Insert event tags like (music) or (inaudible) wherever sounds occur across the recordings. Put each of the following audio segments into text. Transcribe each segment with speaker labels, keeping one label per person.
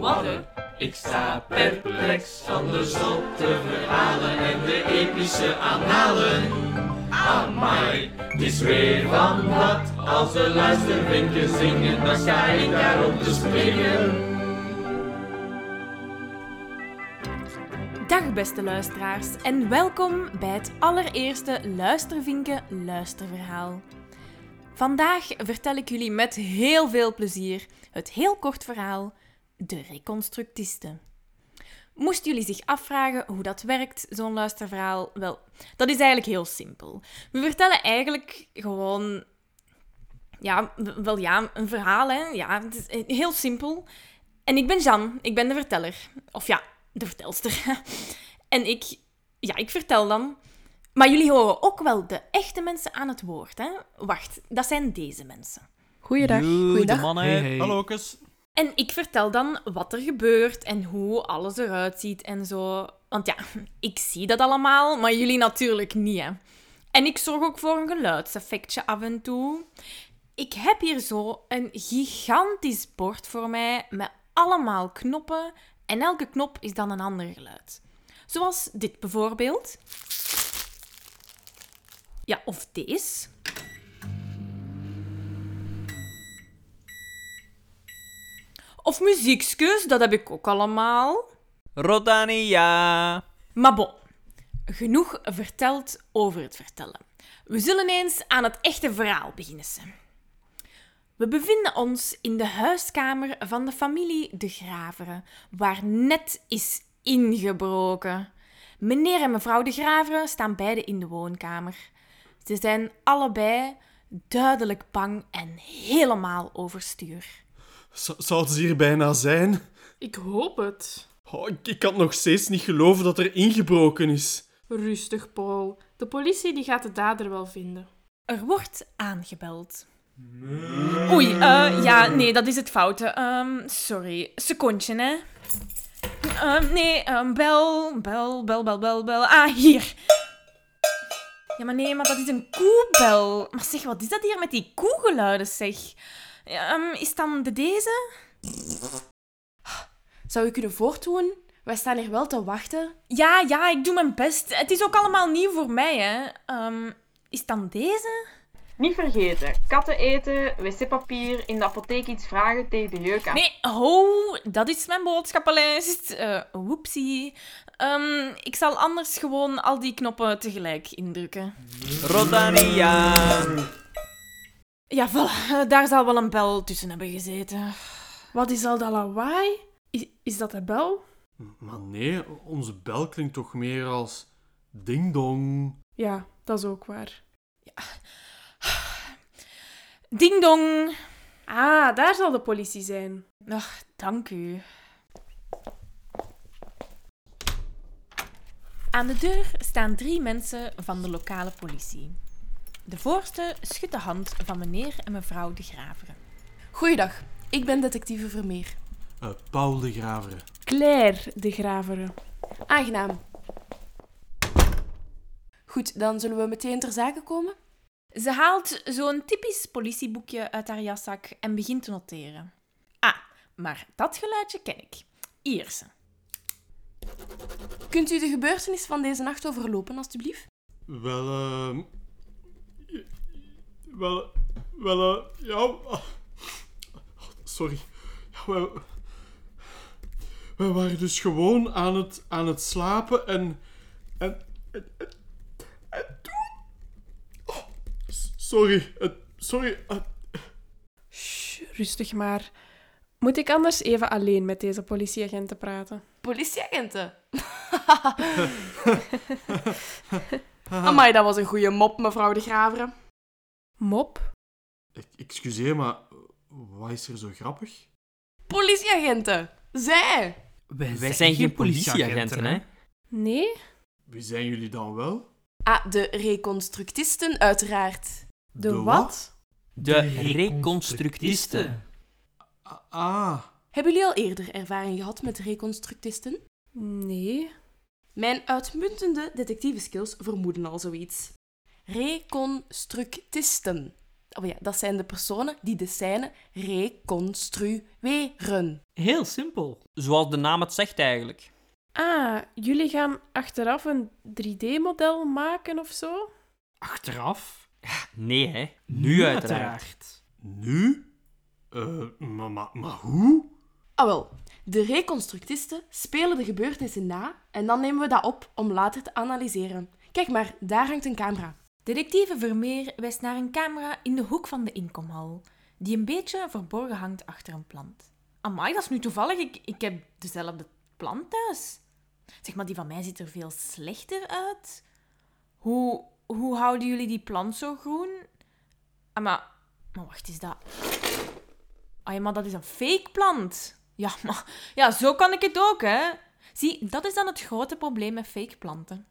Speaker 1: wadden. Nou, Ik sta perplex van de zotte verhalen en de epische aanhalen. Amai, het is weer van wat. Als de luistervinkjes zingen, dan sta ik daar om te springen.
Speaker 2: Dag beste luisteraars en welkom bij het allereerste Luistervinken luisterverhaal. Vandaag vertel ik jullie met heel veel plezier het heel kort verhaal De Reconstructisten. Moesten jullie zich afvragen hoe dat werkt, zo'n luisterverhaal? Wel, dat is eigenlijk heel simpel. We vertellen eigenlijk gewoon... Ja, wel ja, een verhaal, hè. Ja, het is eh, heel simpel. En ik ben Jan, ik ben de verteller. Of ja, de vertelster. (laughs) En ik, ja, ik vertel dan. Maar jullie horen ook wel de echte mensen aan het woord, hè? Wacht, dat zijn deze mensen.
Speaker 3: Goeiedag.
Speaker 4: Goeiedag. mannen.
Speaker 5: Hey, hey.
Speaker 4: Hallo, kus.
Speaker 2: En ik vertel dan wat er gebeurt en hoe alles eruit ziet en zo. Want ja, (laughs) ik zie dat allemaal, maar jullie natuurlijk niet, hè? En ik zorg ook voor een geluidseffectje af en toe. Ik heb hier zo een gigantisch bord voor mij met allemaal knoppen. En elke knop is dan een ander geluid. Zoals dit bijvoorbeeld. Ja, of deze. Of muziekskes, dat heb ik ook allemaal.
Speaker 5: Rodania.
Speaker 2: Maar bon, genoeg verteld over het vertellen. We zullen eens aan het echte verhaal beginnen. Sam. We bevinden ons in de huiskamer van de familie De Graveren, waar net is ingebroken. Meneer en mevrouw De Graveren staan beide in de woonkamer. Ze zijn allebei duidelijk bang en helemaal overstuur.
Speaker 4: Z- Zouden ze hier bijna zijn?
Speaker 3: Ik hoop het.
Speaker 4: Oh, ik, ik kan nog steeds niet geloven dat er ingebroken is.
Speaker 3: Rustig, Paul. De politie die gaat de dader wel vinden.
Speaker 2: Er wordt aangebeld. Oei, eh, ja, nee, dat is het foute. Ehm, sorry, secondje, hè. Ehm, nee, ehm, bel, bel, bel, bel, bel, bel. Ah, hier. Ja, maar nee, maar dat is een koebel. Maar zeg, wat is dat hier met die koegeluiden, zeg? Ja, ehm, is het dan de deze?
Speaker 6: Zou u kunnen voortdoen? Wij staan hier wel te wachten.
Speaker 2: Ja, ja, ik doe mijn best. Het is ook allemaal nieuw voor mij, hè. Ehm, is het dan deze?
Speaker 7: Niet vergeten, katten eten, wc-papier, in de apotheek iets vragen tegen de jeuk aan.
Speaker 2: Nee, ho, dat is mijn boodschappenlijst. Eh woepsie. Ehm, ik zal anders gewoon al die knoppen tegelijk indrukken.
Speaker 5: Rodania.
Speaker 2: Ja, voilà, eh, daar zal wel een bel tussen hebben gezeten.
Speaker 3: Wat is al dat lawaai? Is, is dat de bel?
Speaker 4: Maar nee, onze bel klinkt toch meer als ding-dong.
Speaker 3: Ja, dat is ook waar.
Speaker 2: Ding dong.
Speaker 3: Ah, daar zal de politie zijn.
Speaker 2: Ach, dank u. Aan de deur staan drie mensen van de lokale politie. De voorste schudt de hand van meneer en mevrouw de Graveren.
Speaker 6: Goeiedag, ik ben detectieve Vermeer.
Speaker 4: Eh, Paul de Graveren.
Speaker 3: Claire de Graveren.
Speaker 6: Aangenaam. Goed, dan zullen we meteen ter zake komen.
Speaker 2: Ze haalt zo'n typisch politieboekje uit haar jaszak en begint te noteren. Ah, maar dat geluidje ken ik. Ierse.
Speaker 6: Kunt u de gebeurtenis van deze nacht overlopen, alstublieft?
Speaker 4: Wel, ehm, Wel, wel, eh, ja... ah, Sorry. Ja, wij, wij waren dus gewoon aan het, aan het slapen en... En... En, en, en toen... Oh, s- sorry. eh, sorry. eh,
Speaker 3: Shh, rustig maar. Moet ik anders even alleen met deze politieagenten praten?
Speaker 6: Politieagenten. Amai, dat was een goede mop, mevrouw de Graveren.
Speaker 3: Mop?
Speaker 4: Ex- Excuseer, maar eh, wat is er zo grappig?
Speaker 6: Politieagenten. Zij.
Speaker 5: Wij zijn geen politieagenten, hè?
Speaker 3: Nee?
Speaker 4: Wie zijn jullie dan wel?
Speaker 6: Ah, de reconstructisten, uiteraard.
Speaker 3: De, wat?
Speaker 5: De reconstructisten.
Speaker 4: Ah, Ah,
Speaker 6: Hebben jullie al eerder ervaring gehad met reconstructisten?
Speaker 3: Nee.
Speaker 6: Mijn uitmuntende detectieve skills vermoeden al zoiets. Reconstructisten. Oh ja, dat zijn de personen die de scène reconstrueren.
Speaker 8: Heel simpel.
Speaker 5: Zoals de naam het zegt eigenlijk.
Speaker 3: Ah, jullie gaan achteraf een 3D-model maken of zo?
Speaker 8: Achteraf?
Speaker 5: Nee, hè. Nu, uiteraard.
Speaker 4: Nu? Eh, maar, maar, maar hoe?
Speaker 6: Ah wel, de reconstructisten spelen de gebeurtenissen na en dan nemen we dat op om later te analyseren. Kijk maar, daar hangt een camera.
Speaker 2: Detectieve Vermeer wijst naar een camera in de hoek van de inkomhal, die een beetje verborgen hangt achter een plant. Amai, dat is nu toevallig. Ik, ik heb dezelfde plant thuis. Zeg maar, die van mij ziet er veel slechter uit. Hoe, hoe houden jullie die plant zo groen? Ah, maar, maar wacht, is dat... Ah ja, maar dat is een fake plant. Ja, maar ja, zo kan ik het ook, hè. Zie, dat is dan het grote probleem met fake planten.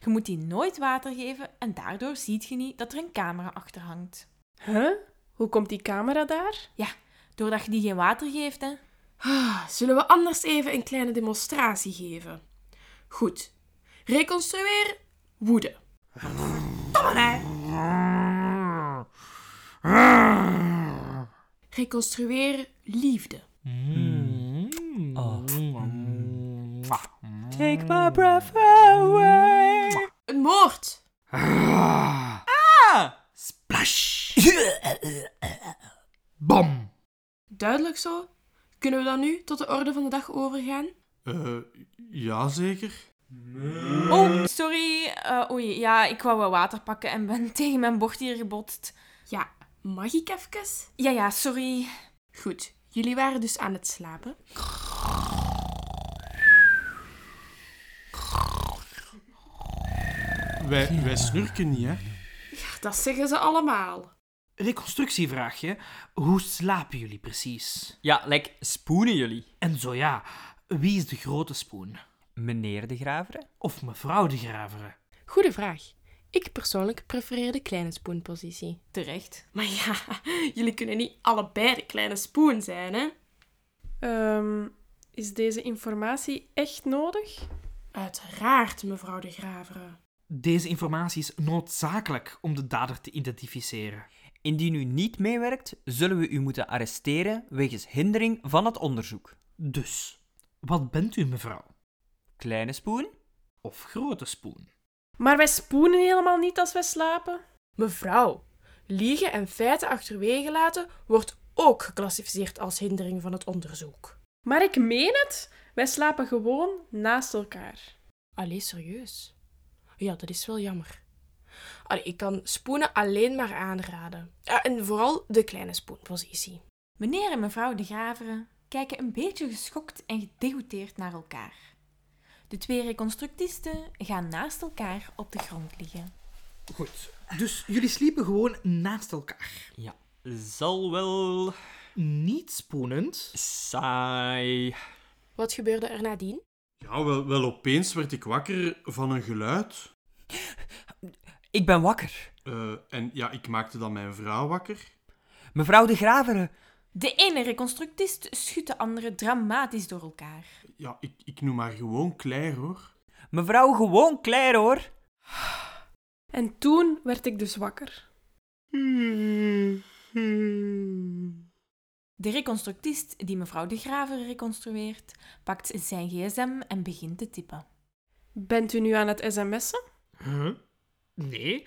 Speaker 2: Je moet die nooit water geven en daardoor ziet je niet dat er een camera achter hangt.
Speaker 3: Huh? Hoe komt die camera daar?
Speaker 2: Doordat je die geen water geeft, hè.
Speaker 9: Ah, Zullen we anders even een kleine demonstratie geven? Goed. Reconstrueer woede. Reconstrueer liefde.
Speaker 8: Hmm. Take my breath away. Ah!
Speaker 9: Een moord.
Speaker 10: Bam!
Speaker 9: Duidelijk zo? Kunnen we dan nu tot de orde van de dag overgaan?
Speaker 4: Eh, jazeker.
Speaker 2: Oh, sorry. Eh, oei, ja, ik wou wel water pakken en ben (laughs) tegen mijn bord hier gebotst.
Speaker 9: Ja, mag ik even?
Speaker 2: Ja, ja, sorry.
Speaker 9: Goed, jullie waren dus aan het slapen.
Speaker 4: Wij, wij snurken niet, hè?
Speaker 9: Dat zeggen ze allemaal.
Speaker 8: Reconstructievraagje. Hoe slapen jullie precies?
Speaker 5: Ja, like, spoenen jullie.
Speaker 8: En zo ja, wie is de grote spoen?
Speaker 5: Meneer de Graver?
Speaker 8: Of mevrouw de Gravere?
Speaker 11: Goede vraag. Ik persoonlijk prefereer de kleine spoenpositie.
Speaker 2: Terecht.
Speaker 9: Maar ja, (laughs) jullie kunnen niet allebei de kleine spoen zijn, hè?
Speaker 3: Ehm, is deze informatie echt nodig?
Speaker 9: Uiteraard, mevrouw de Gravere.
Speaker 8: Deze informatie is noodzakelijk om de dader te identificeren.
Speaker 5: Indien u niet meewerkt, zullen we u moeten arresteren wegens hindering van het onderzoek.
Speaker 8: Dus, wat bent u mevrouw?
Speaker 5: Kleine spoen?
Speaker 8: Of grote spoen?
Speaker 3: Maar wij spoenen helemaal niet als wij slapen.
Speaker 11: Mevrouw, liegen en feiten achterwege laten wordt ook geclassificeerd als hindering van het onderzoek.
Speaker 3: Maar ik meen het. Wij slapen gewoon naast elkaar.
Speaker 11: Allee, serieus? Ja, dat is wel jammer. Allee, ik kan spoenen alleen maar aanraden. Ja, en vooral de kleine spoenpositie.
Speaker 2: Meneer en mevrouw de Graveren kijken een beetje geschokt en gedegoteerd naar elkaar. De twee reconstructisten gaan naast elkaar op de grond liggen.
Speaker 8: Goed, dus jullie sliepen gewoon naast elkaar.
Speaker 5: Zal wel...
Speaker 8: Niet spoenend.
Speaker 5: saai...
Speaker 11: Wat gebeurde er nadien?
Speaker 4: Ja, wel, wel opeens werd ik wakker van een geluid.
Speaker 5: Ik ben wakker.
Speaker 4: Eh, en ja, ik maakte dan mijn vrouw wakker.
Speaker 5: Mevrouw de Gravere.
Speaker 2: De ene reconstructist schudt de andere dramatisch door elkaar.
Speaker 4: Ja, ik, ik noem haar gewoon Claire, hoor.
Speaker 5: Mevrouw gewoon klein hoor.
Speaker 3: En toen werd ik dus wakker.
Speaker 2: De reconstructist die mevrouw de Graver reconstrueert, pakt zijn gsm en begint te typen.
Speaker 3: Bent u nu aan het sms'en?
Speaker 8: Huh? Nee, I-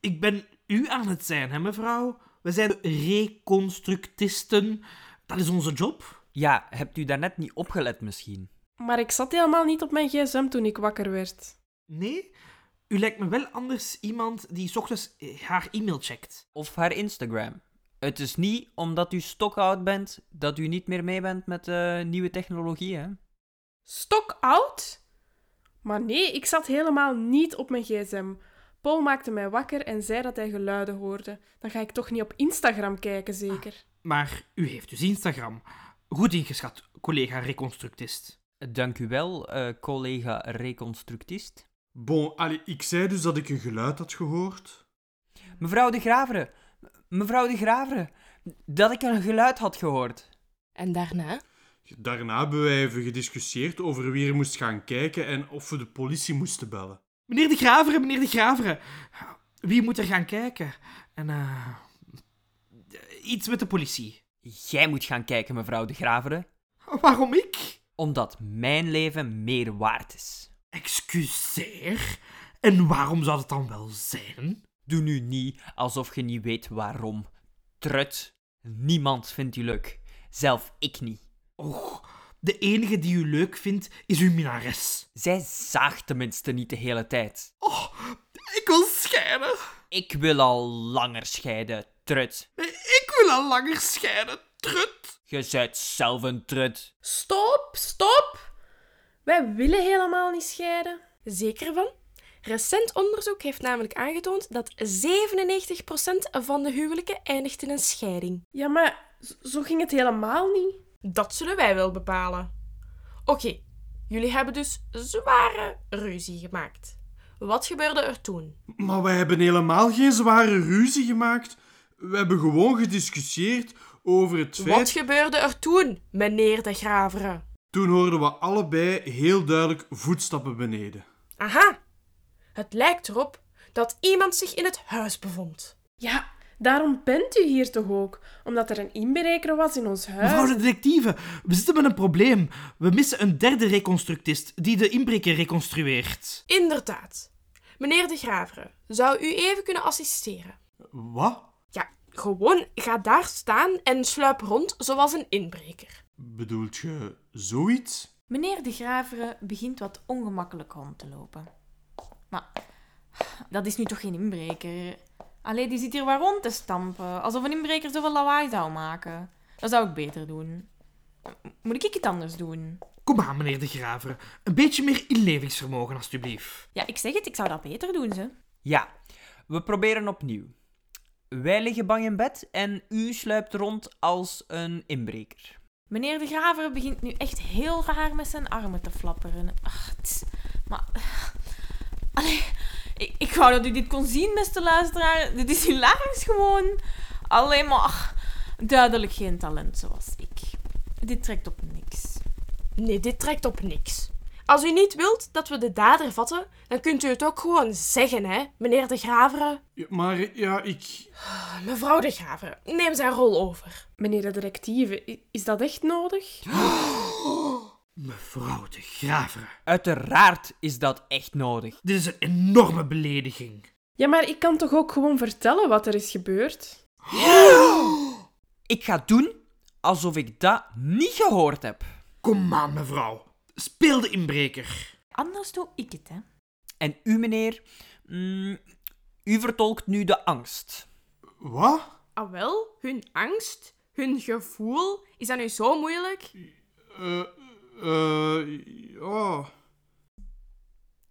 Speaker 8: ik ben u aan het zijn, hè, mevrouw? We zijn de reconstructisten. Dat is onze job.
Speaker 5: Ja, hebt u daarnet niet opgelet misschien?
Speaker 3: Maar ik zat helemaal niet op mijn gsm toen ik wakker werd.
Speaker 8: Nee, u lijkt me wel anders iemand die 's ochtends eh, haar e-mail checkt.
Speaker 5: Of haar Instagram? Het is niet omdat u stokoud bent dat u niet meer mee bent met eh, nieuwe technologieën. hè?
Speaker 3: Stokoud? Maar nee, ik zat helemaal niet op mijn gsm. Paul maakte mij wakker en zei dat hij geluiden hoorde. Dan ga ik toch niet op Instagram kijken, zeker?
Speaker 8: Ah. Maar u heeft dus Instagram. Goed ingeschat, collega reconstructist.
Speaker 5: Dank u wel, eh, collega reconstructist.
Speaker 4: Bon, allee, ik zei dus dat ik een geluid had gehoord.
Speaker 5: Mevrouw de Gravere, mevrouw de Gravere, dat ik een geluid had gehoord.
Speaker 11: En daarna?
Speaker 4: Daarna hebben wij even gediscussieerd over wie er moest gaan kijken en of we de politie moesten bellen.
Speaker 8: Meneer de Gravere, meneer de Gravere. Wie moet er gaan kijken? En eh, iets met de politie.
Speaker 5: Jij moet gaan kijken, mevrouw de Gravere.
Speaker 8: Waarom ik?
Speaker 5: Omdat mijn leven meer waard is.
Speaker 8: Excuseer. En waarom zou dat dan wel zijn?
Speaker 5: Doe nu niet alsof je niet weet waarom. Trut. Niemand vindt u leuk. Zelf ik niet.
Speaker 8: Och, de enige die u leuk vindt is uw minares.
Speaker 5: Zij zaagt tenminste niet de hele tijd.
Speaker 8: Oh, ik wil scheiden.
Speaker 5: Ik wil al langer scheiden, trut.
Speaker 8: Ik wil al langer scheiden, trut.
Speaker 5: Je zijt zelf een trut.
Speaker 3: Stop, stop! Wij willen helemaal niet scheiden.
Speaker 11: Zeker van? Recent onderzoek heeft namelijk aangetoond dat 97% van de huwelijken eindigt in een scheiding.
Speaker 3: Ja, maar z- zo ging het helemaal niet.
Speaker 11: Dat zullen wij wel bepalen. Oké, jullie hebben dus zware ruzie gemaakt. Wat gebeurde er toen?
Speaker 4: Maar wij hebben helemaal geen zware ruzie gemaakt. We hebben gewoon gediscussieerd over het feit...
Speaker 11: Wat gebeurde er toen, meneer de Gravere?
Speaker 4: Toen hoorden we allebei heel duidelijk voetstappen beneden.
Speaker 11: Aha, het lijkt erop dat iemand zich in het huis bevond.
Speaker 3: Ja, daarom bent u hier toch ook? Omdat er een inbreker was in ons huis.
Speaker 8: Mevrouw de detectieve, we zitten met een probleem. We missen een derde reconstructist die de inbreker reconstrueert.
Speaker 11: Inderdaad. Meneer de Gravere, zou u even kunnen assisteren?
Speaker 4: Wat?
Speaker 11: Ja, gewoon ga daar staan en sluip rond zoals een inbreker.
Speaker 4: Bedoelt je zoiets?
Speaker 2: Meneer de Gravere begint wat ongemakkelijk rond te lopen. Maar dat is nu toch geen inbreker? Allee, die zit hier waar rond te stampen. Alsof een inbreker zoveel lawaai zou maken. Dat zou ik beter doen. Moet ik het anders doen?
Speaker 8: Kom aan, meneer de Gravere. Een beetje meer inlevingsvermogen, alstublieft.
Speaker 2: Ja, ik zeg het, ik zou dat beter doen, ze.
Speaker 5: Ja, we proberen opnieuw. Wij liggen bang in bed en u sluipt rond als een inbreker.
Speaker 2: Meneer de Graver begint nu echt heel raar met zijn armen te flapperen. Ach, het is- maar... Allee, ik, ik wou dat u dit kon zien, beste luisteraar. Dit is hilarisch gewoon. Alleen maar... ach, duidelijk geen talent zoals ik. Dit trekt op niks.
Speaker 11: Nee, dit trekt op niks. Als u niet wilt dat we de dader vatten, dan kunt u het ook gewoon zeggen, hè, meneer de Gravere.
Speaker 4: Ja, maar ja, ik...
Speaker 11: Mevrouw de Gravere, neem zijn rol over.
Speaker 3: Meneer de directieve, i- is dat echt nodig?
Speaker 8: Mevrouw de Gravere,
Speaker 5: Uiteraard is dat echt nodig.
Speaker 8: dit is een enorme belediging.
Speaker 3: Ja, maar ik kan toch ook gewoon vertellen wat er is gebeurd?
Speaker 5: Ik ga doen alsof ik dat niet gehoord heb.
Speaker 8: Kom aan, mevrouw. Speel de inbreker.
Speaker 2: Anders doe ik het, hè.
Speaker 5: En u, meneer, mm, u vertolkt nu de angst.
Speaker 4: Wat?
Speaker 11: Ah wel, hun angst, hun gevoel, is dat nu zo moeilijk?
Speaker 4: Eh, eh, ja...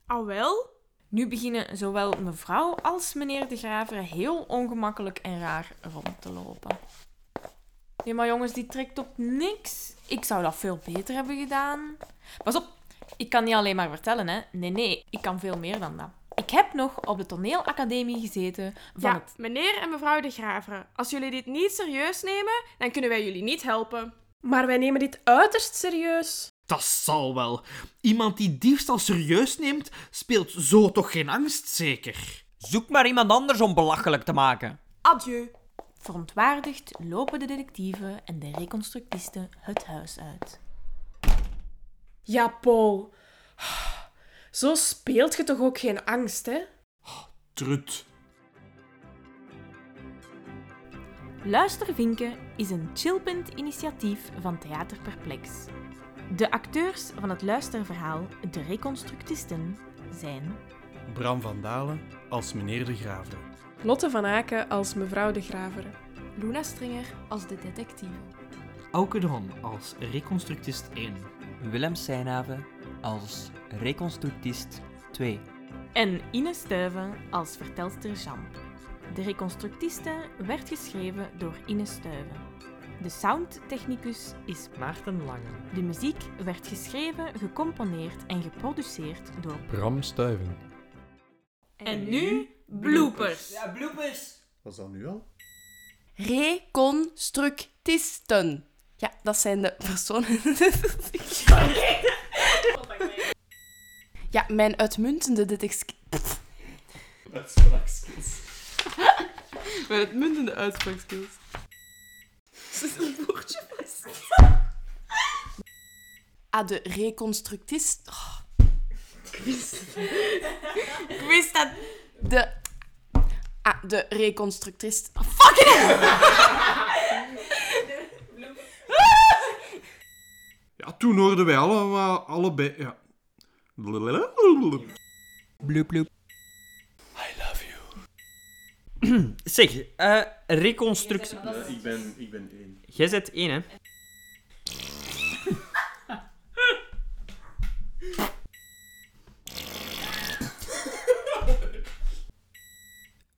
Speaker 11: Ah wel?
Speaker 2: Nu beginnen zowel mevrouw als meneer de Graver heel ongemakkelijk en raar rond te lopen. Nee, maar jongens, die trekt op niks. Ik zou dat veel beter hebben gedaan. Pas op, ik kan niet alleen maar vertellen, hè. Nee, nee, ik kan veel meer dan dat. Ik heb nog op de toneelacademie gezeten van
Speaker 11: Ja,
Speaker 2: het...
Speaker 11: meneer en mevrouw de Gravere, als jullie dit niet serieus nemen, dan kunnen wij jullie niet helpen.
Speaker 3: Maar wij nemen dit uiterst serieus.
Speaker 8: Dat zal wel. Iemand die diefstal serieus neemt, speelt zo toch geen angst, zeker?
Speaker 5: Zoek maar iemand anders om belachelijk te maken.
Speaker 11: Adieu.
Speaker 2: Verontwaardigd lopen de detectieven en de reconstructisten het huis uit.
Speaker 3: Ja, Paul. Zo speelt je toch ook geen angst, hè?
Speaker 4: Trut.
Speaker 2: Luistervinken is een chillpunt initiatief van Theater Perplex. De acteurs van het luisterverhaal De Reconstructisten zijn
Speaker 4: Bram van Dalen als meneer de Graver.
Speaker 3: Lotte van Aken als mevrouw de Graveren.
Speaker 6: Luna Stringer als de detectieve.
Speaker 8: Auke de Hon als reconstructist 1.
Speaker 5: Willem Seinhaven als reconstructist 2.
Speaker 2: en Ines Stuiven als vertelster Jean. De Reconstructisten werd geschreven door Ines Stuiven. De soundtechnicus is
Speaker 5: Maarten Langen.
Speaker 2: De muziek werd geschreven, gecomponeerd en geproduceerd door
Speaker 12: Bram Stuiven.
Speaker 2: En nu bloopers.
Speaker 5: Ja, bloepers.
Speaker 12: Was dat nu al?
Speaker 6: Reconstructisten. Ja, dat zijn de personen. ja, mijn uitmuntende detectieve.
Speaker 11: (laughs)
Speaker 12: Uitspraakskills.
Speaker 6: Mijn uitmuntende uitspraakskills.
Speaker 11: is een woordje vast. Ah, de reconstructist... Oh, ik wist het. Ik wist dat... De... Ah, de reconstructist... Oh, fuck
Speaker 4: Ja, toen hoorden wij allemaal, allebei... Ja.
Speaker 5: Bloep, bloep. I love you. (clears throat) zeg, eh reconstructie...
Speaker 13: Ik ben, ik ben één.
Speaker 5: Jij zet één, hè?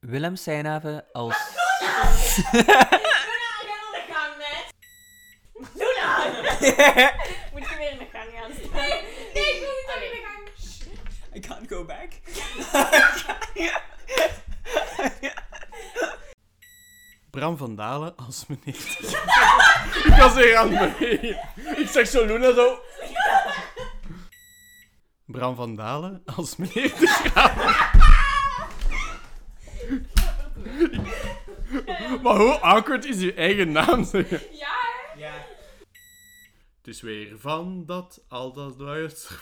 Speaker 5: Willem Seinhaven als...
Speaker 13: Doe nou!
Speaker 14: Moet je weer in de gang gaan staan?
Speaker 13: Nee, nee, ik wil niet
Speaker 14: in de gang.
Speaker 5: I can't go back.
Speaker 4: Bram van Dalen als meneer. ik was weer aan het meneer. Ik zeg zo Luna zo... Bram van Dalen als meneer de Graaf. maar hoe awkward is uw eigen naam? zeggen?
Speaker 13: Ja, Ja.
Speaker 4: Het is weer van dat, al dat duist.